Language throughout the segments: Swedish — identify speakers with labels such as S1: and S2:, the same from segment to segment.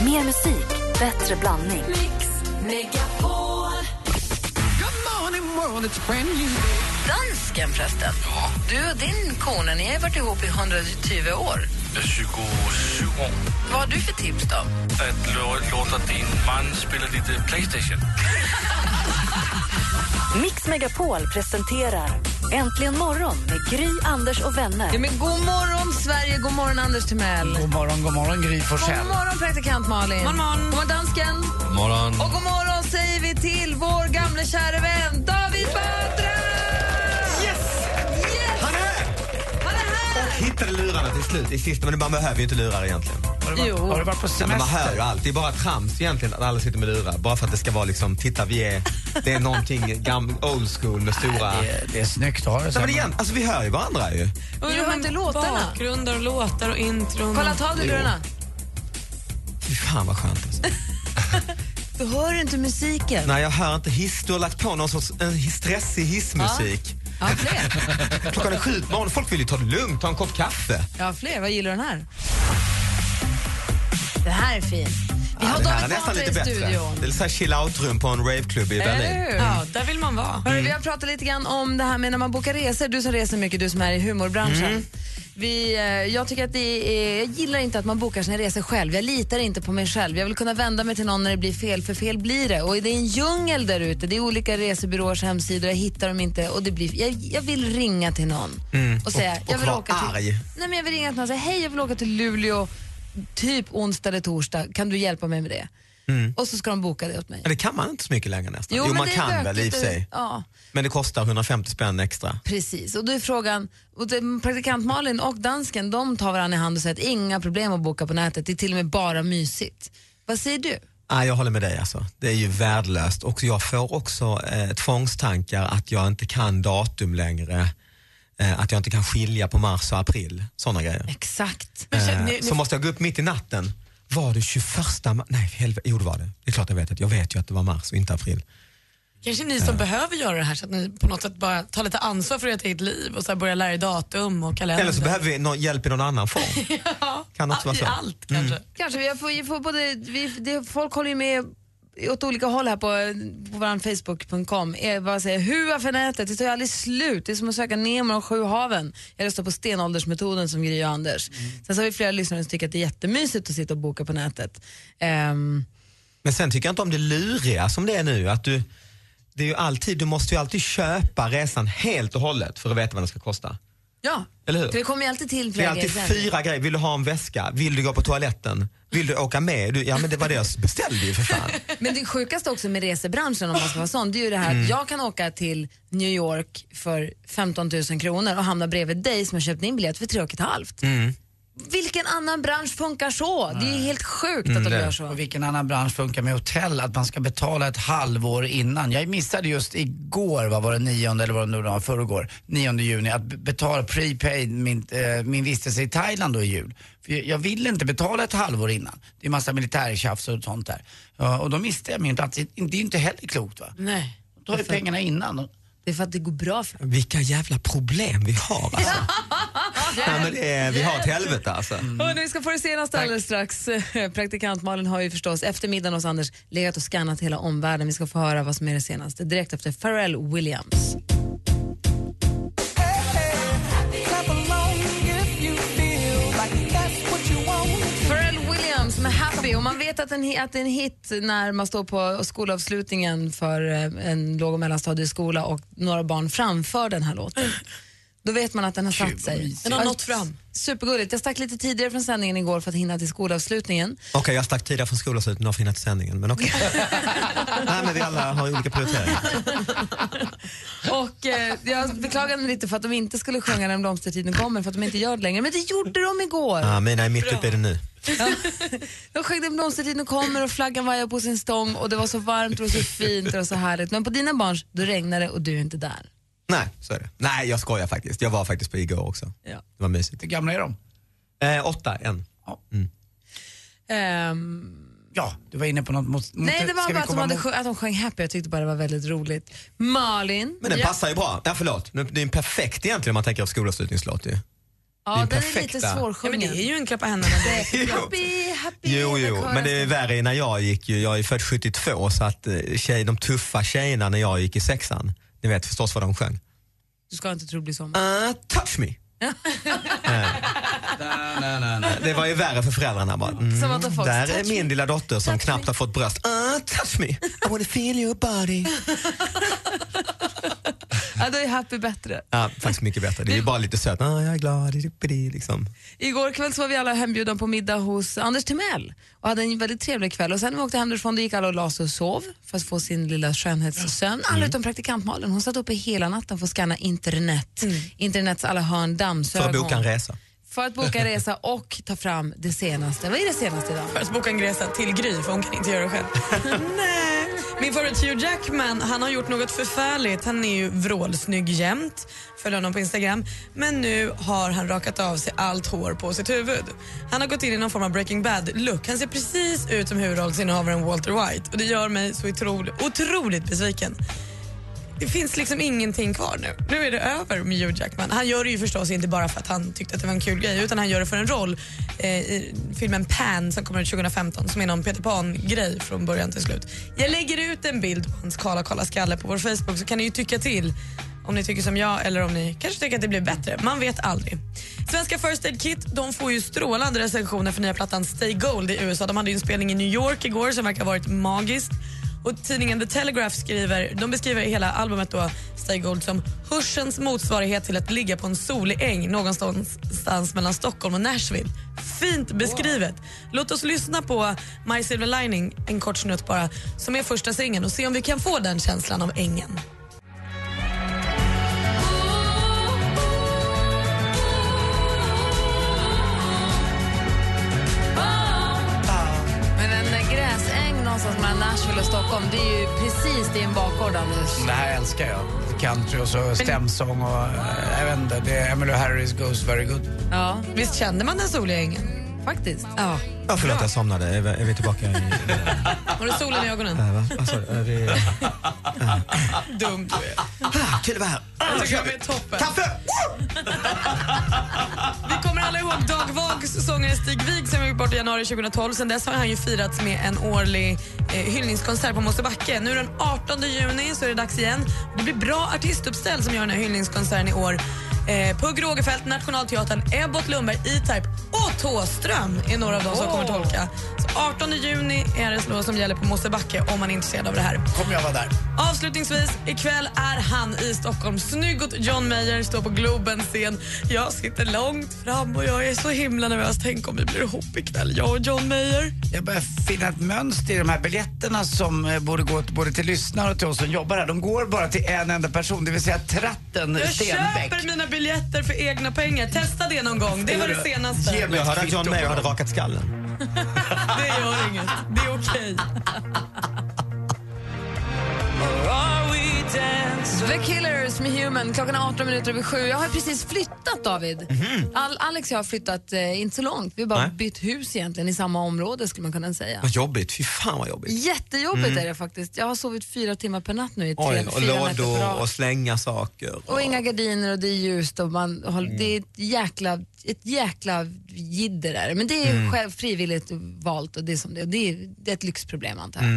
S1: Mer musik, bättre blandning.
S2: Mix Megapol.
S3: Dansken förresten. Du och din kone, ni har ju varit ihop i 120 år.
S4: 27 år.
S3: Vad har du för tips då?
S4: Att lå- låta din man spela lite øh, Playstation.
S1: Mix Megapol presenterar Äntligen morgon med Gry, Anders och
S3: Ja,
S1: vänner.
S3: men god morgon, Sverige. God morgon, Anders Timell.
S5: God morgon, god morgon Gry
S3: God
S5: Forssell.
S3: morgon, praktikant Malin. God morgon, god morgon dansken.
S4: Morgon.
S3: Och god morgon säger vi till vår gamle käre vän David Batra!
S6: Yes!
S3: Yes!
S6: Han är här!
S3: Han är här!
S6: Hittade lurarna till slut i sista, men man behöver ju inte lurar egentligen.
S5: Har, du
S3: Jo.
S5: varit, har du varit på
S6: Ja, men man hör
S5: semester?
S6: ju allt. Det är bara trams egentligen att alla sitter med lurar. Bara för att det ska vara liksom, titta vi är, det är någonting gam, old school med stora... Nej,
S5: Det är snyggt att ha det så.
S6: men igen, alltså vi hör ju varandra ju.
S3: Och du hör inte låtarna.
S7: Bakgrunder och låtar och intron.
S3: Kolla, ta av dig lurarna.
S6: Fy fan vad skönt alltså.
S3: Du hör inte musiken.
S6: Nej jag hör inte hiss. Du har lagt på någon sorts en his- stressig hissmusik.
S3: Ja, fler.
S6: Klockan är sju på morgonen. Folk vill ju ta det lugnt, ta en kopp kaffe.
S3: Ja, fler. Vad gillar du den här? Det här är fin. Vi har
S6: den här är
S3: David Batra
S6: nästan lite
S3: i
S6: bättre.
S3: studion.
S6: Det är så här chill out-rum på en raveklubb i Berlin.
S3: Eller hur?
S7: Ja, där vill man vara.
S6: Mm.
S3: Hörru, vi har pratat lite grann om det här med när man bokar resor. Du som reser mycket, du som är i humorbranschen.
S6: Mm.
S3: Vi, eh, jag, tycker att det är, jag gillar inte att man bokar sina resor själv. Jag litar inte på mig själv. Jag vill kunna vända mig till någon när det blir fel, för fel blir det. Och det är en djungel där ute. Det är olika resebyråers hemsidor, jag hittar dem inte. Och det blir, jag, jag vill ringa till någon och säga...
S6: Mm. och
S3: jag vill
S6: vara
S3: åka till,
S6: arg.
S3: Nej, men jag vill ringa till någon och säga, hej jag vill åka till Luleå typ onsdag eller torsdag. Kan du hjälpa mig med det? Och så ska de boka det åt mig.
S6: Men det kan man inte så mycket längre nästan. Mm. Jo, man
S3: det är
S6: kan väl i och
S3: bökigt
S6: för
S3: och-
S6: sig.
S3: Ja.
S6: Men det kostar 150 spänn extra.
S3: Precis, och då är frågan, och det- praktikant Malin och dansken de tar varandra i hand och säger att inga problem att boka på nätet, det är till och med bara mysigt. Vad säger du?
S6: Ah, jag håller med dig alltså. Det är ju värdelöst. Och jag får också eh, tvångstankar att jag inte kan datum längre. Eh, att jag inte kan skilja på mars och april. Sådana grejer.
S3: Exakt.
S7: Men känn-
S6: Eh,
S7: ni- ni-
S6: så måste jag gå upp mitt i natten. Var det 21 mars? Nej, helvete. Jo, det var det. Det är klart jag vet att jag vet ju att det var mars och inte april.
S7: Kanske ni som behöver göra det här så att ni på något sätt bara tar lite ansvar för ert eget liv och så här börjar lära er datum och kalender.
S6: Eller så behöver vi någon hjälp i någon annan form.
S7: ja.
S6: Kan också vara
S7: I
S6: så. Mm.
S7: allt kanske.
S3: Kanske, vi får, vi får både, vi, det, folk håller ju med åt olika håll här på, på vår Facebook.com. Eh, Vad säger hua för nätet, det tar ju aldrig slut. Det är som att söka Nemo och sju haven. Jag röstar på stenåldersmetoden som Gry och Anders.
S6: Mm.
S3: Sen så har vi flera lyssnare som tycker att det är jättemysigt att sitta och boka på nätet. Ehm,
S6: Men sen tycker jag inte om det luriga som det är nu. Att du, det är ju alltid, du måste ju alltid köpa resan helt och hållet för att veta vad den ska kosta.
S3: ja,
S6: Eller hur?
S3: för det kommer ju alltid till
S6: Det är
S3: flera
S6: alltid
S3: grejer.
S6: fyra grejer. Vill du ha en väska? Vill du gå på toaletten? Vill du åka med? Du, ja men det var det jag beställde ju för fan.
S3: Men det sjukaste också med resebranschen om man ska vara sån, det är ju det här
S6: Mm.
S3: att jag kan åka till New York för 15 000 kronor och hamna bredvid dig som har köpt din biljett för 3 och ett halvt.
S6: Mm.
S3: Vilken annan bransch funkar så? Det är ju helt sjukt att de
S6: Mm, det.
S3: gör
S5: Och
S3: så.
S5: vilken annan bransch funkar med hotell? Att man ska betala ett halvår innan. Jag missade just igår, vad var det, 9 eller vad det nu var, förrgår, 9 juni, att be- betala prepaid min, eh, min vistelse i Thailand då i jul. För jag, jag ville inte betala ett halvår innan. Det är massa militärtjafs och sånt där. Ja, och då missade jag min plats. Det är ju inte heller klokt va?
S7: Nej.
S5: Ta ju pengarna innan.
S3: Det är för att det går bra för dem.
S6: Vilka jävla problem vi har alltså. ja, men det är, vi har ett helvete alltså.
S3: Och nu ska få det senaste alldeles strax. Praktikant Malin har ju förstås eftermiddagen hos Anders legat och skannat hela omvärlden. Vi ska få höra vad som är det senaste direkt efter Pharrell Williams. Pharrell Williams med Happy. Och man vet att, en, hi- att det är en hit när man står på skolavslutningen för eh, en låg och mellanstadieskola och några barn framför den här låten. Då vet man att den har satt sig.
S7: Den har
S3: Ja,
S7: nått fram.
S3: Supergulligt. Jag stack lite tidigare från sändningen igår för att hinna till skolavslutningen.
S6: Okej jag stack tidigare från skolavslutningen och finnat sändningen men okej. Nej men vi alla har olika prioriteringar.
S3: Och eh, jag beklagade mig lite för att de inte skulle sjunga När blomstertiden kommer för att de inte gör det längre. Men det gjorde de igår.
S6: Ja, mina är mitt uppe i det nu.
S3: De sjöng Den blomstertiden kommer och flaggan vajar på sin stång och det var så varmt och så fint och det var så härligt. Men på dina barns, då regnar det och du är inte där.
S6: Nej så är det. Nej jag skojar faktiskt. Jag var faktiskt på igår också.
S3: Ja.
S6: Det var mysigt.
S5: Hur gamla är de?
S6: Eh, åtta, en.
S3: Ehm,
S5: Ja, du var inne på något mot... mot
S3: nej, det
S5: ska
S3: var
S5: vi
S3: bara att de,
S5: komma
S3: hade,
S5: mot-
S3: sjö- att de sjöng Happy. Jag tyckte bara det var väldigt roligt. Malin?
S6: Men den passar ju bra. Ja, förlåt, Nu- det är en perfekt egentligen om man tänker på skolavslutningslåt ju. Det
S3: Ja,
S6: är
S3: den är lite
S6: perfekta.
S7: Ja, men det
S3: svårsjungen.
S7: är ju en klapp på händerna. direkt.
S3: happy, happy.
S6: Jo,
S3: den
S6: jo,
S3: kören
S6: men det är
S3: ska-
S6: värre när jag gick ju. Jag är född 72 så att eh, tjej, de tuffa tjejerna när jag gick i sexan, ni vet förstås vad de sjöng.
S3: Du ska inte tro det blir sommar.
S6: Uh, touch me. Eh, Det var ju värre för föräldrarna bara. Mm,
S3: Som att de fått
S6: där är
S3: touch
S6: min lilla dotter som knappt har fått bröst. Uh, touch me, I wanna feel your body.
S3: Ja, då är happy bättre.
S6: Ja, faktiskt mycket bättre. Det är ju bara lite söt. Ah, jag är glad. Liksom.
S3: Igår kväll så var vi alla hembjudna på middag hos Anders Timell och hade en väldigt trevlig kväll. Och sen när vi åkte hem därifrån då gick alla och la sig och sov för att få sin lilla skönhetssömn. Alla
S6: Mm.
S3: utom praktikant Malin. Hon satt uppe hela natten för att scanna internet. Internets alla hörn
S6: Mm. För
S3: dammsög
S6: att boka en
S3: hon.
S6: resa.
S3: För att boka en resa och ta fram det senaste. Vad är det senaste idag?
S7: För att boka en resa till Gry, för hon kan inte göra det själv. Nej. Min favorit Hugh Jackman, han har gjort något förfärligt. Han är ju vrålsnygg jämt, följer honom på Instagram. Men nu har han rakat av sig allt hår på sitt huvud. Han har gått in i någon form av Breaking Bad-look. Han ser precis ut som huvudrollsinnehavaren Walter White och det gör mig så otroligt, otroligt besviken. Det finns liksom ingenting kvar nu. Nu är det över med Hugh Jackman. Han gör det ju förstås inte bara för att han tyckte att det var en kul grej utan han gör det för en roll eh, i filmen Pan som kommer ut 2015 som är någon Peter Pan-grej från början till slut. Jag lägger ut en bild på hans kala, kala skalle på vår Facebook så kan ni ju tycka till om ni tycker som jag eller om ni kanske tycker att det blir bättre. Man vet aldrig. Svenska First Aid Kit de får ju strålande recensioner för nya plattan Stay Gold i USA. De hade ju en spelning i New York igår som verkar ha varit magiskt. Och tidningen The Telegraph skriver, de beskriver hela albumet då, Stay Gold som hörselns motsvarighet till att ligga på en solig äng någonstans mellan Stockholm och Nashville. Fint beskrivet. Låt oss lyssna på My Silver Lining, en kort snutt bara, som är första singeln och se om vi kan få den känslan av ängen.
S3: Men en eh, gräsäng någonstans mellan Nashville och Stockholm, det är ju precis din bakgård Anders.
S5: Det här älskar jag. Country och så stämsång och eh, jag vet inte, det är Emmylou Harris Goes Very Good.
S3: Ja,
S7: Visst kände man den soliga ängen?
S3: faktiskt.
S7: Ja.
S6: Ja, förlåt, jag somnade. Är vi- Är vi tillbaka i...
S7: Har du solen i ögonen?
S6: Äh, va? Vad sa du? Är vi...
S7: Dum du är.
S6: Ah, Kul att vara här. Ah,
S7: Jag tycker de är toppen.
S6: Kaffe!
S7: Vi kommer alla ihåg Dag Vags sångare Stig Wig som gick bort i januari 2012. Sen dess har han ju firats med en årlig eh, hyllningskonsert på Mosebacke. Nu den 18 juni så är det dags igen. Det blir bra artistuppställ som gör den här hyllningskonserten i år. Eh, Pugh Rogefeldt, Nationalteatern, Ebbot Lundberg, E-Type och Thåström är några av dem som kommer tolka. Så 18 juni är det då som gäller på Mosebacke om man är intresserad av det här.
S5: Kommer jag vara där.
S7: Avslutningsvis, ikväll är han i Stockholm. Snygg och John Mayer står på Globen-scen. Jag sitter långt fram och jag är så himla nervös. Tänk om vi blir ihop ikväll, jag och John Mayer.
S5: Jag börjar finna ett mönster i de här biljetterna som eh, borde gå till- både till lyssnare och till oss som jobbar här. De går bara till en enda person, det vill säga tratten
S7: Jag
S5: Stenbeck.
S7: köper mina biljetter för egna pengar. Testa det någon gång. Det var det senaste.
S5: Ge mig
S6: Jag hörde att
S5: kvitto
S6: John
S5: på
S6: Mayer hade
S5: dem.
S6: rakat skallen.
S7: Det gör inget. Det är okej.
S3: The Killers med Human, klockan är 18 minuter över sju. Jag har precis flyttat, David. Al Alex och jag har flyttat eh, inte så långt. Vi har bara
S6: Mhm. Nej.
S3: bytt hus egentligen i samma område skulle man kunna säga.
S6: Vad jobbigt. Fy fan vad jobbigt.
S3: Jättejobbigt är det faktiskt. Jag har sovit fyra timmar per natt nu i tre,
S6: Oj, och
S3: fyra nätter per
S6: lådor
S3: dag.
S6: och slänga saker.
S3: Och inga gardiner och det är ljust och man har, det är ett jäkla, ett jäkla jidder där. Men det är ju själv frivilligt valt och det är som det är. Och det är. Det är ett lyxproblem antar jag.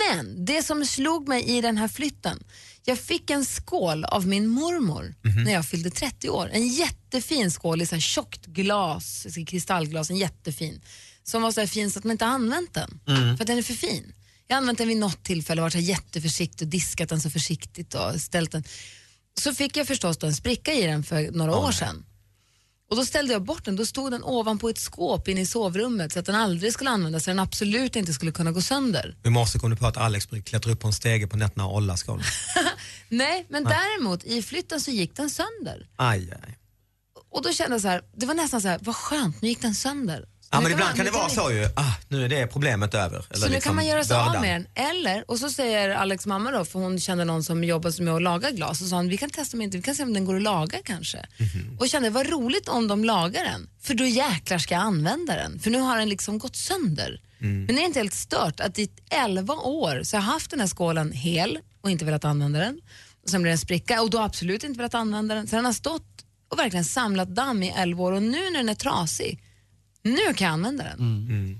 S3: Men det som slog mig i den här flytten, jag fick en skål av min mormor när jag fyllde 30 år. En jättefin skål i så här tjockt glas, så här kristallglas, en jättefin. Som var så här fin så att man inte har använt den, för att den är för fin. Jag har använt den vid något tillfälle och varit så här jätteförsiktig och diskat den så försiktigt och ställt den så fick jag förstås då en spricka i den för några år sedan. Och då ställde jag bort den, då stod den ovanpå ett skåp inne i sovrummet så att den aldrig skulle användas, så den absolut inte skulle kunna gå sönder.
S6: I morse kom du på att Alex klättrar upp på en stege på nätterna och ollar skålen.
S3: Nej, men däremot i flytten så gick den sönder.
S6: Aj, aj.
S3: Och då kände jag så här, det var nästan så här, vad skönt, nu gick den sönder. Så
S6: Ja,
S3: nu
S6: men
S3: man-
S6: ibland kan
S3: nu
S6: det vara
S3: man-
S6: så ju. Ah, nu är det problemet över. Eller
S3: Så nu
S6: liksom
S3: kan man göra sig av
S6: bördan.
S3: med den. Eller, och så säger Alex mamma då, för hon kände någon som jobbar med att laga glas och sa hon, vi kan testa om inte, vi kan se om den går att laga kanske.
S6: Mhm.
S3: Och kände, vad roligt om de lagar den, för då jäklar ska jag använda den. För nu har den liksom gått sönder.
S6: Mm.
S3: Men det är inte helt stört att i 11 år så har jag haft den här skålen hel och inte velat använda den. Och sen blir den spricka och då har jag absolut inte velat använda den. Så den har stått och verkligen samlat damm i 11 år och nu när den är trasig, nu kan jag använda den.
S6: Mm.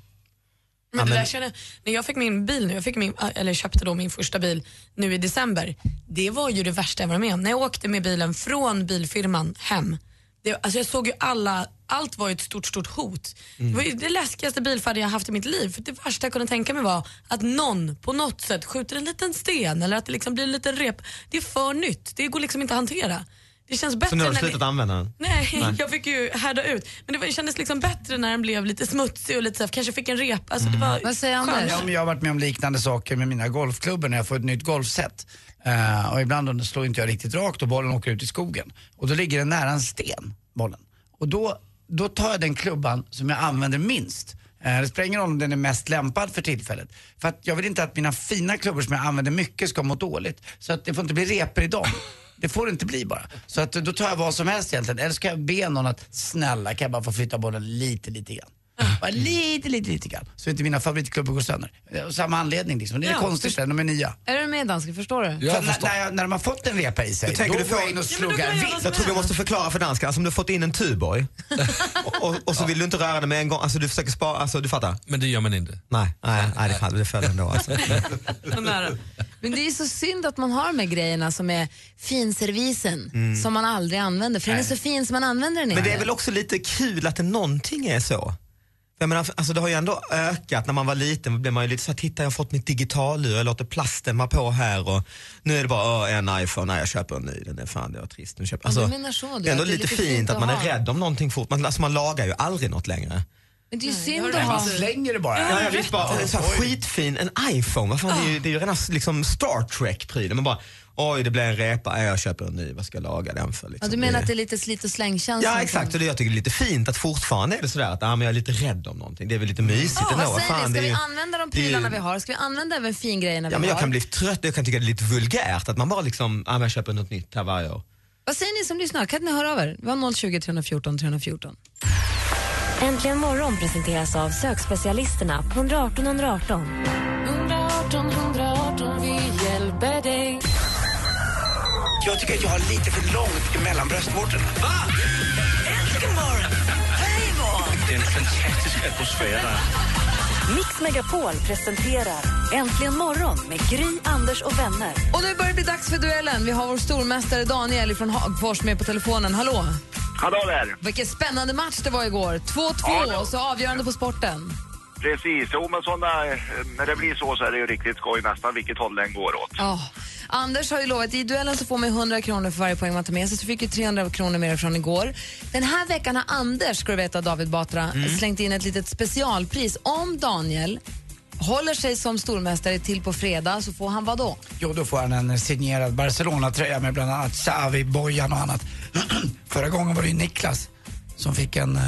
S7: Men det där känner, när jag fick min bil nu, jag fick min, eller köpte då min första bil nu i december, det var ju det värsta jag var med om. När jag åkte med bilen från bilfirman hem, det, alltså jag såg ju alla, allt var ju ett stort, stort hot. Det var
S6: Mm.
S7: ju det läskigaste bilfärden jag haft i mitt liv. För det värsta jag kunde tänka mig var att någon på något sätt skjuter en liten sten eller att det liksom blir en liten rep. Det är för nytt, det går liksom inte att hantera. Det känns bättre
S6: Så nu har
S7: när
S6: du
S3: Alltså,
S7: det-
S6: slutat använda den?
S7: Nej, jag fick ju härda ut. Men det, var, det kändes liksom bättre när den blev lite smutsig och lite så här, kanske fick en repa. Alltså,
S6: Mm.
S7: det var
S3: Vad säger Anders?
S7: skönt.
S5: Ja, men jag har varit med om liknande saker med mina golfklubbor när jag får ett nytt golfset. Eh, och ibland då slår inte jag riktigt rakt och bollen åker ut i skogen. Och då ligger den nära en sten, bollen. Och då, då tar jag den klubban som jag använder minst. Eh, det spelar ingen roll om den är mest lämpad för tillfället. För att jag vill inte att mina fina klubbor som jag använder mycket ska må dåligt. Så att det får inte bli repor i dem. Det får det inte bli bara. Så att då tar jag vad som helst egentligen. Eller ska jag be någon att snälla kan jag bara få flytta bollen lite, lite grann. Bara lite, lite, lite grann. Så inte mina favoritklubbor går sönder. Eh, Av samma anledning liksom. Det är
S7: Ja.
S5: konstigt när de är nya.
S3: Är du med dansken, förstår du?
S5: För när, när, jag- när de har fått en repa i sig,
S6: tänker
S5: då
S6: du
S5: får jag
S6: få-
S5: in och
S7: Ja, men då
S5: sluggar
S7: kan jag
S5: vilt.
S3: Alltså,
S6: Jag tror vi måste förklara för danskarna, alltså, om du har fått in en Tuborg och, och, och så vill du inte röra den med en gång, alltså du försöker spara, alltså du fattar?
S4: Men det gör man inte.
S6: Nej, nej, nej det faller- det föll ändå alltså.
S7: Den där.
S3: Men det är så synd att man har de här grejerna som är finservisen som man aldrig använder. För den är så fin som man använder den
S6: Mm. Men
S3: inte.
S6: det är väl också lite kul att det någonting är så? Jag menar, alltså det har ju ändå ökat. När man var liten blev man ju lite så här, titta jag har fått mitt digitallur, jag låter plasten vara på här och nu är det bara, "Åh, en iPhone, nej jag köper en ny, den är fan det var trist. Nu köper.
S3: Ja, du
S6: Alltså,
S3: menar så, du,
S6: det är ändå
S3: att det är
S6: lite
S3: lite fint
S6: fint att
S3: att
S6: man är
S3: ha.
S6: rädd om någonting fort, man, alltså, man lagar ju aldrig något längre.
S3: Men det är ju
S7: har
S3: synd
S7: du
S3: att
S5: Man
S3: ha.
S5: slänger det bara.
S6: Ja, jag visst bara, en sån här
S5: Oj.
S6: skitfin, en iPhone, vad fan, det, är
S3: Ah.
S6: ju, det är ju rena liksom Star Trek-prylen. Man bara, oj det blir en repa, nej, jag köper en ny, vad ska jag laga den för?
S3: Ja,
S6: Liksom.
S3: du menar att det är lite slit och slängkänsla?
S6: Ja exakt, och det jag tycker det är lite fint att fortfarande är det sådär att ah, men jag är lite rädd om någonting. Det är väl lite mysigt
S3: Ja,
S6: ändå.
S3: vad säger ni?
S6: det
S3: Ska
S6: är
S3: vi
S6: ju-
S3: använda de
S6: det är ju-
S3: prylarna vi har? Ska vi använda även fingrejerna
S6: Ja,
S3: vi
S6: men jag
S3: har?
S6: kan bli trött, jag kan tycka det är lite vulgärt att man bara liksom, ah, men jag köper något nytt här varje år.
S3: Vad säger ni som lyssnar? Kan ni höra av er? Vi har 020 314 314.
S1: Äntligen morgon presenteras av sökspecialisterna på 118 118.
S2: 118 118, vi hjälper dig.
S5: Jag tycker att jag har lite för långt mellan bröstvårtorna.
S4: Det är en fantastisk atmosfär där.
S1: Mix Megapol presenterar Äntligen morgon med Gry, Anders och vänner.
S3: Och nu börjar det bli dags för duellen. Vi har vår stormästare Daniel från Hagfors med på telefonen. Hallå!
S8: Hallå där!
S3: Vilken spännande match det var igår. 2-2 och så avgörande på sporten.
S8: Precis, jo men sådana, eh, när det blir så så är det ju riktigt skoj nästan vilket håll den går åt.
S3: Ja. Anders har ju lovat, i duellen så får man ju 100 kronor för varje poäng man tar med sig, så fick ju 300 kronor mer från igår. Den här veckan har Anders, ska du veta, David Batra,
S8: Mm.
S3: slängt in ett litet specialpris. Om Daniel håller sig som stormästare till på fredag så får han vad då?
S5: Jo, då får han en signerad Barcelona-tröja med bland annat Xavi, Bojan och annat. Förra gången var det ju Niklas som fick en uh,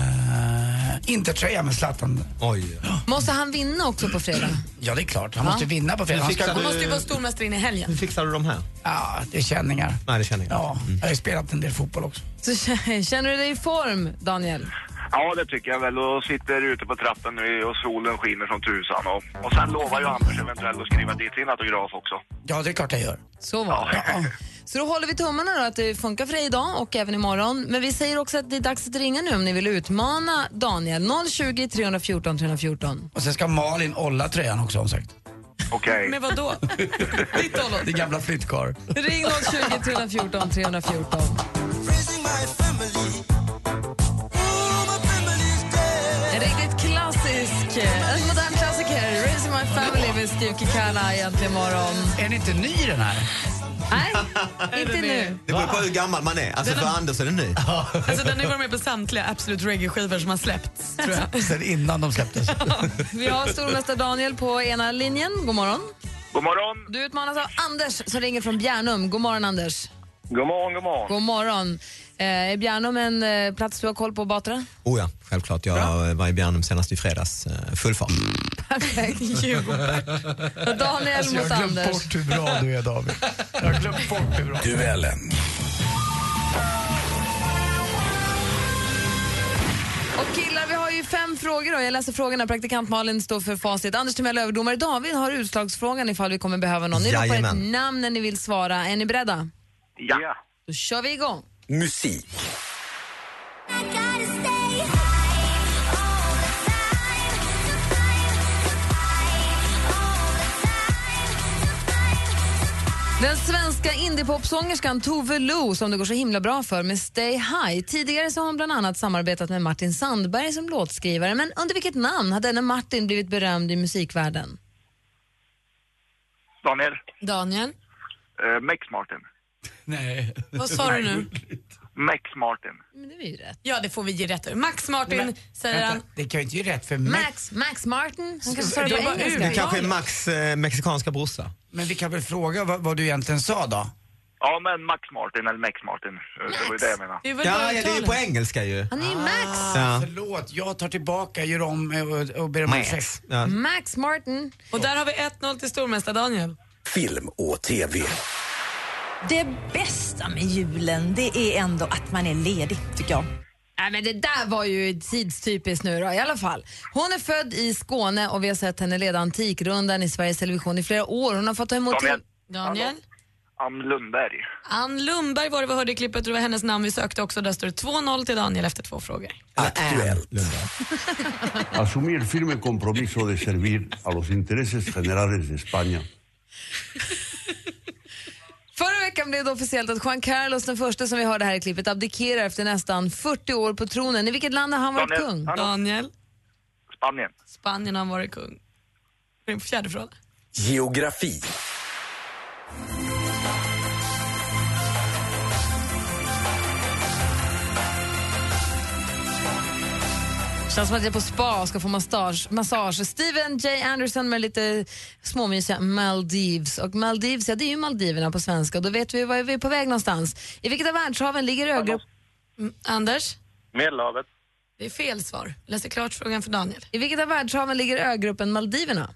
S5: Intertröja med Zlatan.
S6: Oj.
S3: Måste han vinna också på fredag?
S5: Ja, det är klart. Han måste ju vinna på fredag. Han ska
S6: fixar
S5: gå...
S7: Man måste ju vara stormästare in i helgen.
S6: Hur fixar du de här?
S5: Ja, det är känningar.
S6: Nej det känner jag
S5: Ja, jag har ju spelat en del fotboll också.
S3: Så k- känner du dig i form, Daniel?
S8: Ja det tycker jag väl och sitter ute på trappen nu och solen skiner som tusan och, och sen lovar ju Anders eventuellt att skriva dit sin autograf också.
S5: Ja, det är klart jag gör.
S3: Så var det. Så då håller vi tummarna då att det funkar för dig idag och även imorgon. Men vi säger också att det är dags att ringa nu om ni vill utmana Daniel. 020 314 314.
S5: Och sen ska Malin olla tröjan också har hon sagt.
S8: Okej.
S7: Men vadå? Ditt håll
S5: Det är gamla flyttkar.
S3: Ring 020 314 314. En riktigt klassisk, eh, en modern klassiker. Raising My Family med Steve Kikana egentligen imorgon.
S5: Är ni inte ny i den här?
S3: Nej, inte nu.
S6: Det beror på hur gammal man är. Alltså för Anders är det ny.
S7: Alltså, den har ju varit med på samtliga Absolut Reggae-skivor som har släppts. Tror jag.
S5: Sen innan de släpptes.
S3: Vi har stormästare Daniel på ena linjen. God morgon.
S8: God morgon!
S3: Du utmanas av Anders som ringer från Bjärnum. God morgon, Anders.
S8: God morgon, god morgon.
S3: God morgon. Eh, är Bjärnum en eh, plats du har koll på, Batra?
S6: Oh ja, självklart. Jag var i Bjärnum senast i fredags. eh, Full fart.
S3: Perfekt. Daniel
S5: Alltså, jag
S3: mot
S5: har glömt
S3: Anders.
S5: bort hur bra du är David. Jag har glömt bort hur bra du är.
S3: Och killar, vi har ju fem frågor då. Jag läser frågorna. Praktikant Malin står för facit. Anders Timell överdomare. David har utslagsfrågan ifall vi kommer behöva någon. Ni ropar ett
S6: Jajamän.
S3: namn när ni vill svara. Är ni beredda?
S8: Ja.
S3: Då kör vi igång.
S9: Musik,
S3: Den svenska indiepopsångerskan Tove Lo som det går så himla bra för med Stay High. Tidigare så har hon bland annat samarbetat med Martin Sandberg som låtskrivare men under vilket namn har denne Martin blivit berömd i musikvärlden?
S8: Daniel,
S7: Daniel,
S8: eh, Max Martin.
S5: Nej.
S7: vad sa du nu?
S8: Max Martin.
S3: Men det var ju rätt.
S7: Ja, det får vi ge rätt Max Martin säger han.
S5: Vänta, det kan ju inte ge rätt för mig.
S3: Max, Max Martin. Han kanske sa det
S7: Jag
S3: på
S7: bara,
S3: engelska.
S6: Det kanske är Max eh, mexikanska brorsa.
S5: Men vi kan väl fråga vad, vad du egentligen sa då?
S8: Ja, men Max Martin eller Max Martin. Eh, Det var ju det jag menade.
S7: Det är väl bara
S6: Ja, ja, det är ju
S7: uttalet.
S6: på engelska ju.
S3: Han är ju Max.
S6: Ja.
S5: Förlåt, jag tar tillbaka, gör om eh, och, och ber om ursäkt.
S6: Ja.
S3: Max Martin.
S7: Och där har vi 1-0 till stormästare Daniel.
S9: Film och TV.
S10: Det bästa med julen, det är ändå att man är ledig, tycker jag.
S3: Nej, men det där var ju tidstypiskt nu då, i alla fall. Hon är född i Skåne och vi har sett henne leda Antikrundan i Sveriges Television i flera år. Hon har fått ta emot...
S8: Daniel.
S7: Daniel.
S8: Ann Lundberg.
S7: Ann Lundberg var det vi hörde i klippet och det var hennes namn vi sökte också. Där står det 2-0 till Daniel efter två frågor.
S9: Aktuellt.
S11: Asumí el firme compromiso de servir a los intereses generales de España.
S3: Förra veckan blev det officiellt att Juan Carlos den första som vi hörde här i klippet abdikerar efter nästan 40 år på tronen. I vilket land har han varit
S8: Daniel.
S3: kung?
S8: Hallå.
S7: Daniel,
S8: Spanien.
S7: Spanien har varit kung. Det är Fjärde fråga.
S9: Geografi.
S3: Känns som att jag är på spa och ska få massage. massage. Steven J. Anderson med lite småmysiga Maldives. Och Maldives, ja det är ju Maldiverna på svenska. Då vet vi var vi är på väg någonstans. I vilket av världshaven ligger ögruppen...
S7: Mm, Anders,
S8: Medelhavet.
S7: det är fel svar. Läser klart frågan för Daniel.
S3: I vilket av världshaven ligger ögruppen Maldiverna?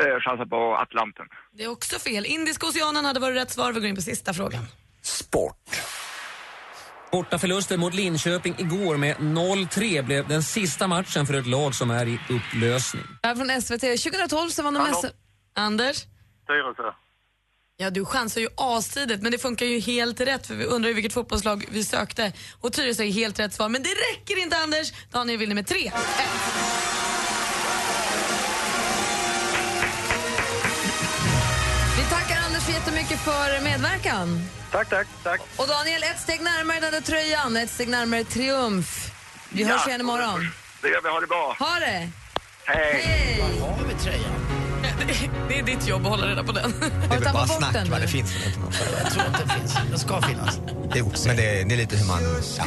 S8: Eh, chansar på Atlanten.
S7: Det är också fel. Indiska oceanen hade varit rätt svar. Vi går in på sista frågan.
S9: Sport.
S4: Bortaförlusten mot Linköping igår med 0-3 blev den sista matchen för ett lag som är i upplösning.
S3: Det här från SVT. 2012 så vann de
S8: Hallå?
S3: SM...
S7: Anders,
S8: Tyresö.
S7: ja du chansar ju astidigt men det funkar ju helt rätt för vi undrar ju vilket fotbollslag vi sökte. Och Tyresö är helt rätt svar men det räcker inte Anders. Daniel vinner med 3
S3: Vi tackar Anders så jättemycket för medverkan.
S8: Tack, tack, tack.
S3: Och Daniel, ett steg närmare den där tröjan, ett steg närmare triumf. Vi hörs igen imorgon.
S8: Det gör vi. Ha det bra.
S3: Ha det!
S8: Hej.
S3: Hej!
S5: Har vi tröjan?
S7: Det är ditt jobb att hålla reda på den.
S6: Det är
S3: du
S6: väl
S3: tappat
S6: bara
S3: bort
S6: snack
S3: den
S6: va?
S3: nu?
S6: Det finns väl inte någon fråga.
S5: Jag tror inte det finns. Den ska finnas.
S6: Jo, men det är, det är lite hur man... Ja.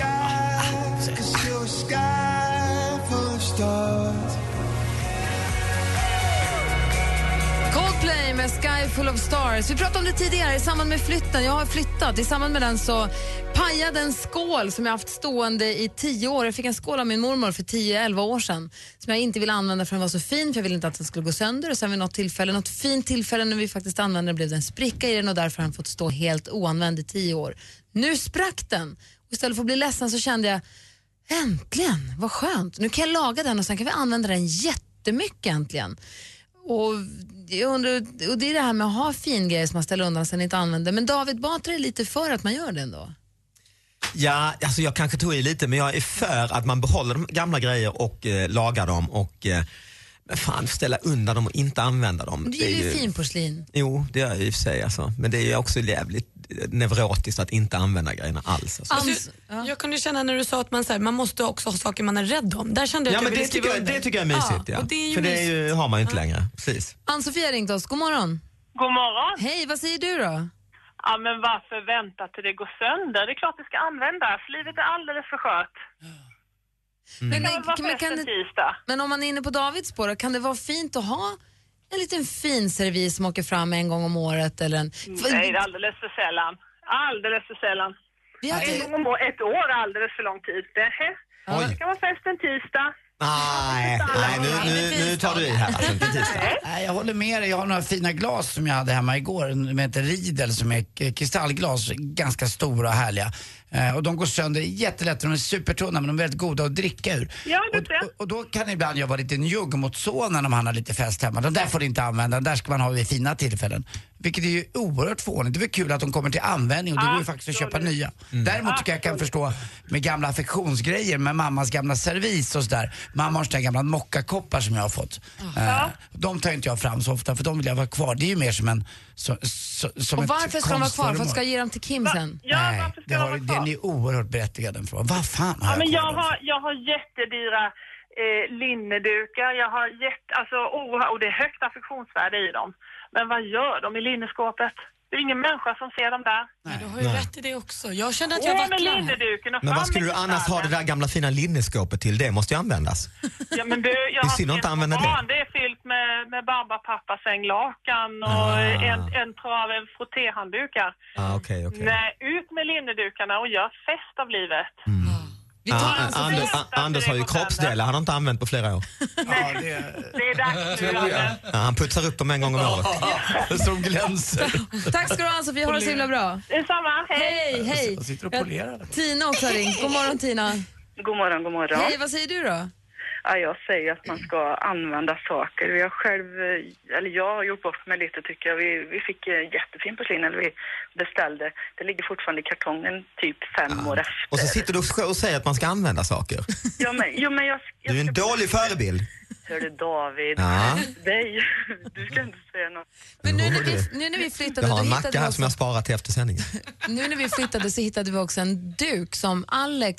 S3: Coldplay med Sky Full of Stars. Vi pratade om det tidigare i samband med flytten. Jag har flyttat. I samband med den så pajade en skål som jag haft stående i tio år. Jag fick en skål av min mormor för 10-11 år sedan som jag inte ville använda för den var så fin för jag ville inte att den skulle gå sönder. Och sen vid något tillfälle, något fint tillfälle när vi faktiskt använde den blev det en spricka i den och därför har den fått stå helt oanvänd i tio år. Nu sprack den. Och istället för att bli ledsen så kände jag äntligen, vad skönt. Nu kan jag laga den och sen kan vi använda den jättemycket äntligen. Och, jag undrar, och det är det här med att ha fin grejer som man ställer undan sen inte använder. Men David Batra är lite för att man gör det ändå.
S6: Ja, alltså jag kanske tog i lite men jag är för att man behåller de gamla grejer och eh, lagar dem och eh, men fan, ställa undan dem och inte använda dem.
S3: Men Du gillar ju finporslin.
S6: Jo, det gör jag i och för sig. Alltså. Men det är ju också jävligt eh, neurotiskt att inte använda grejerna alls. Alltså.
S7: Du,
S3: Ans- ja.
S7: Jag kunde känna när du sa att man, så här, man måste också ha saker man är rädd om. Där kände jag
S6: Ja,
S7: att
S6: men
S7: jag
S6: det
S7: ville
S6: tycker,
S7: skriva
S6: jag,
S7: under.
S6: det tycker jag är mysigt. Ja.
S7: och det är ju
S6: För det är ju, har man ju inte längre. Precis.
S3: Ann-Sofie har ringt oss, god morgon.
S10: God morgon!
S3: Hej, vad säger du
S6: Mm.
S3: då?
S10: Ja, men varför vänta till det går sönder? Det är klart det ska användas. Livet är alldeles för skört.
S3: Men,
S10: Men varför
S3: men,
S10: efter
S3: kan det,
S10: tisdag?
S3: men om man är inne på Davids spår, då, kan det vara fint att ha en liten fin servis som åker fram en gång om året? Eller en, för-
S10: Mm, Nej, det är alldeles för sällan. Alldeles för sällan.
S3: vi har,
S10: En gång om år- Alltså, ett år är alldeles för lång tid. Nähä. Det ska vara fest en tisdag.
S6: Nej, nej nu, nu, nu tar du i här. Alltså, inte tisdag.
S5: Nej, jag håller med dig. Jag har några fina glas som jag hade hemma igår. De heter Riedel som är k- kristallglas. Ganska stora och härliga. Eh, och de går sönder jättelätt. De är supertunna men de är väldigt goda att dricka ur.
S10: Ja,
S5: och,
S10: det ser jag.
S5: och, och då kan ibland jag vara lite njugg mot sonen om han har lite fest hemma. De där får du inte använda. De där ska man ha vid fina tillfällen. Vilket är ju oerhört fånigt. Det är väl kul att de kommer till användning och det går ju faktiskt att köpa nya. Däremot tycker jag
S3: Ah,
S5: jag kan förstå med gamla affektionsgrejer, med mammas gamla servis och sådär. Mamma har sådana gamla mockakoppar som jag har fått. Eh, de tar inte jag fram så ofta för de vill jag ha kvar. Det är ju mer som en... Så, så, som
S3: Och
S5: ett
S3: varför ska de vara kvar? För
S5: konstföremål.
S3: att ska jag ge dem till Kim sen?
S5: Nej, det har, den är oerhört berättigad den frågan. Vad fan har
S10: Ja, men
S5: jag
S10: jag
S5: kvar?
S10: har, jag har jättedyra eh, linnedukar. Jag har jätte, alltså, oh, och det är högt affektionsvärde i dem. Men vad gör de i linneskåpet? Det är ingen människa som ser dem där.
S7: Du har ju
S6: Nej.
S7: rätt i det också. Jag kände att jag
S10: Åh, med
S7: vacklar. här.
S10: linneduken och
S6: Men
S10: fram
S6: vad skulle
S10: med
S6: du annars ha det
S10: kristallen.
S6: där gamla fina linneskåpet till? Det måste ju användas.
S10: Ja, men du, jag
S6: Det är
S10: har
S6: synd att
S10: ett
S6: inte använda det.
S10: barn. Det är fyllt med, med barba, pappa, sänglakan och
S6: Ah.
S10: en, en trave frottéhanddukar.
S6: Ah, okej, okej.
S10: Nej, ut med linnedukarna och gör fest av livet.
S3: Vi tar
S6: Ah,
S3: alltså
S6: ah, Anders,
S10: festa
S6: ah, Anders har ju
S10: till det går
S6: kroppsdelar han har inte använt på flera år.
S5: Ja, det,
S10: Det är dags nu, Anders.
S6: Ja, han putsar upp dem en gång om året.
S5: som glänser.
S3: Tack ska du ha Ann-Sofie, ha det så himla bra.
S10: Detsamma, hej!
S3: Hej, hej.
S5: Jag sitter och
S3: Ja,
S5: polerar den.
S3: Tina också har ringt. God morgon Tina.
S12: God morgon, god morgon.
S3: Hej, vad säger du då?
S12: Ja, jag säger att man ska använda saker. Vi har själv, eh, eller jag har gjort bort mig lite tycker jag. Vi, vi fick eh, jättefin porslin eller vi beställde. Det ligger fortfarande i kartongen typ fem år efter.
S6: Och så sitter du och säger att man ska använda saker.
S12: Ja, men, jo, men jag, jag
S6: Du är en dålig förebild.
S12: Hörru David,
S6: Ja.
S12: dig. Du ska inte säga något.
S3: Men nu när vi,
S6: Hörru.
S3: nu när vi flyttade
S6: Jag har
S3: då
S6: en
S3: hittade
S6: macka
S3: vi
S6: här
S3: oss-
S6: som jag har sparat till efter sändningen.
S3: Nu när vi flyttade så hittade vi också en duk som Alex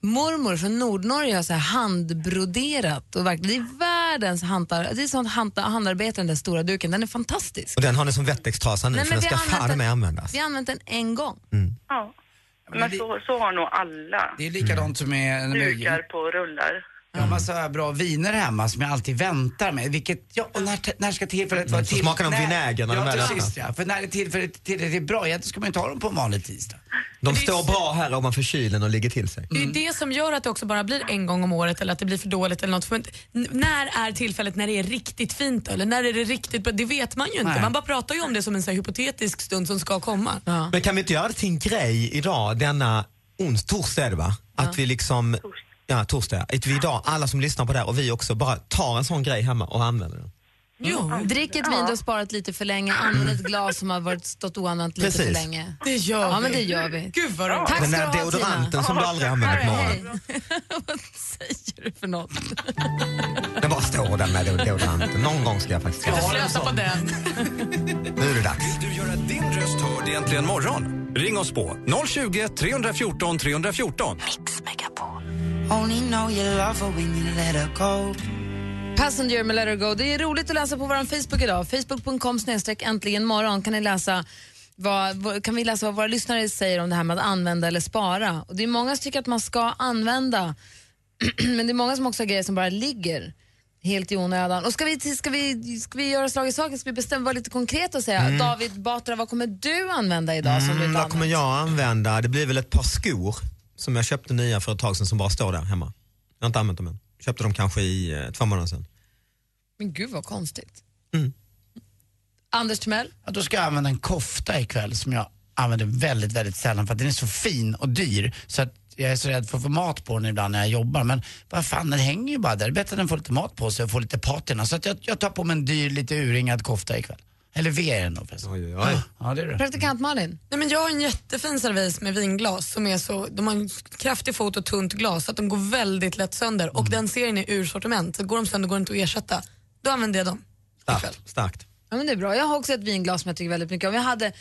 S3: mormor från Nordnorge har så här handbroderat. Och verkligen, det är världens hantar, det är sånt hanta- handarbete den där stora duken. Den är fantastisk.
S6: Och den har ni som vettextrasa nu,
S3: Nej,
S6: så
S3: men
S6: Mm, den
S3: vi
S6: ska
S3: har använt
S6: fan
S3: den-
S6: med användas. Mm.
S3: Vi har använt den en gång.
S12: Ja.
S5: men
S12: Men,
S5: det-
S12: så, så har nog alla.
S5: det är likadant som med...
S12: Dukar på rullar.
S5: Jag
S6: Mm.
S5: har massa bra viner hemma som jag alltid väntar med. Vilket, ja, och när, när ska tillfället vara
S6: Mm, så smakar de
S5: När-
S6: vinäger när de
S5: ja,
S6: väl
S5: precis, ja. För när det tillfället tillräckligt bra, ja, då ska man ju ta dem på en vanlig tisdag.
S6: De står bra här ovanför kylen och ligger till sig.
S7: Det är ju det som gör att det också bara blir en gång om året eller att det blir för dåligt eller något. För n- när är tillfället när det är riktigt fint då? eller när är det riktigt bra? Det vet man ju inte.
S5: Nej.
S7: Man bara pratar ju om det som en så här hypotetisk stund som ska komma.
S6: Men kan vi inte göra det till en grej idag, denna ons torsdag är det va? Att vi liksom, ja torsdag, att vi idag, alla som lyssnar på det här och vi också, bara tar en sån grej hemma och använder den.
S7: Jo,
S3: Drick ett vin du har sparat lite för länge, använd ett glas som har varit stått oanvänt lite för
S6: Precis.
S3: länge.
S7: det gör vi.
S3: Ja, men det gör vi.
S7: Gud vad roligt.
S3: Tack
S6: Den
S3: ska du
S6: där
S3: ha Tina.
S6: deodoranten som du aldrig använder på
S3: Hej.
S6: morgonen.
S3: Vad säger du för något?
S6: Den bara står där med deodoranten. Någon gång ska jag faktiskt ha den.
S7: Slösa på den.
S6: Nu är det dags.
S9: Vill du göra din röst hörd i Äntligen morgon? Ring oss på 020 314 314.
S3: Passenger med Let Her Go. Det är roligt att läsa på vår Facebook idag. Facebook.com snedstreck äntligen morgon kan ni läsa vad, vad- kan vi läsa vad våra lyssnare säger om det här med att använda eller spara. Och det är många som tycker att man ska använda, men det är många som också har grejer som bara ligger helt i onödan. Och ska vi, till- ska vi, ska vi göra slag i saken? Ska vi bestämma, vara lite konkreta och säga David Batra, vad kommer du använda idag som du
S6: Mm,
S3: inte
S6: vad kommer
S3: använt?
S6: jag använda? Det blir väl ett par skor som jag köpte nya för ett tag sedan som bara står där hemma. Jag har inte använt dem än. Köpte dem kanske i eh, två månader sedan.
S3: Men gud vad konstigt.
S6: Mm.
S3: Anders Timell?
S5: Ja, då ska jag använda en kofta ikväll som jag använder väldigt, väldigt sällan för att den är så fin och dyr så att jag är så rädd för att få mat på den ibland när jag jobbar. Men vad fan, den hänger ju bara där. Det är bättre att den får lite mat på sig och får lite patina. Så att jag, jag tar på mig en dyr, lite urringad kofta ikväll. Eller V är den då förresten.
S6: Oj, oj, oj.
S5: Ja, det är det.
S3: Praktikant Malin?
S7: Nej, men jag har en jättefin servis med vinglas som är så, de har en kraftig fot och tunt glas så att de går väldigt lätt sönder
S6: Mm.
S7: och den serien är ur sortiment. Så går de sönder går det inte att ersätta. Då använder jag dem.
S6: Starkt. starkt.
S3: Ja, men det är bra. Jag har också ett vinglas som jag tycker väldigt mycket om. Jag hade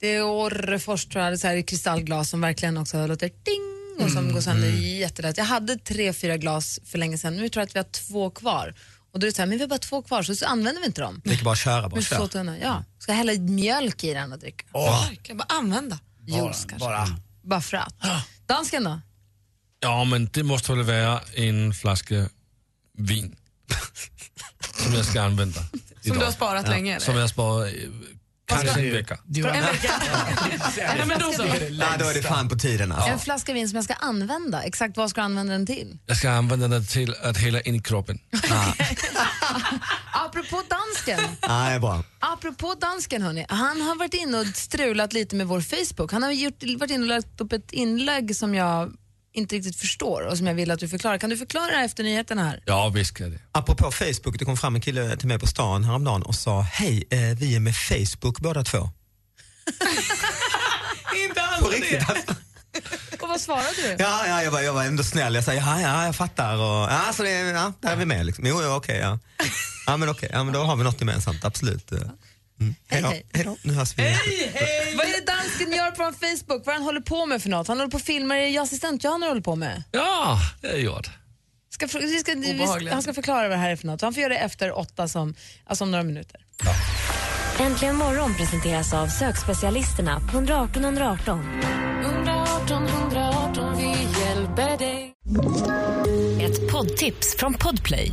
S3: det är Orrefors tror jag, hade så här kristallglas som verkligen också låter ding och som går sönder jättelätt. Jag hade tre, fyra glas för länge sedan. Nu tror jag att vi har två kvar. Och då är det så här, men vi har bara två kvar så, så använder vi inte dem.
S6: Det är bara att köra. Bara
S3: Men så
S6: köra.
S3: tunna, ja. Ska jag hälla mjölk i den och dricka?
S5: Åh,
S7: Verkligen, bara använda.
S5: bara,
S3: Juice kanske.
S5: bara.
S3: Bara för att. Dansken då?
S13: Ja, men det måste väl vara en flaska vin som jag ska använda.
S7: Som
S13: idag.
S7: du har sparat länge eller?
S13: Som jag sparar eh, kanske en vecka.
S5: Du har
S7: En vecka. Nej, men då så.
S6: Ja, då är det fan på tiden alltså.
S3: En flaska vin som jag ska använda. Exakt vad ska du använda den till?
S13: Jag ska använda den till att hälla in i kroppen.
S3: Apropå dansken.
S6: Ja, det är bra.
S3: Apropå dansken, hörni. Han har varit inne och strulat lite med vår Facebook. Han har gjort, varit inne och lagt upp ett inlägg som jag inte riktigt förstår och som jag vill att du förklarar. Kan du förklara efter nyheterna här?
S13: Ja, visst kan jag det.
S6: Apropå Facebook, det kom fram en kille till mig på stan häromdagen och sa hej, eh, vi är med Facebook båda två.
S7: Inte alls det.
S3: Och vad svarade du?
S6: alltså. Ja, ja jag, var, jag var ändå snäll. Jag sa ja, ja jag fattar. Och, ja, så det, ja, där är vi med. Liksom. Jo, jo, okej. ja. Ja, men okej. Ja, men då har vi något gemensamt, absolut. Mm. Hej då.
S3: Hej,
S6: Hej då. Nu hörs vi.
S3: Vad är det dansken gör på en Facebook? Vad är han håller på med för något? Han håller på och filmar, är det assistent Johanna håller på med?
S13: Ja, det är gjort.
S3: Ska, fr- vi ska, vi
S13: Obehagligt.
S3: ska, han ska förklara vad det här är för något. Han får göra det efter åtta, som, alltså om några minuter.
S1: Äntligen morgon presenteras av sökspecialisterna på 118 118.
S2: 118 118, vi hjälper dig.
S1: Ett poddtips från Podplay.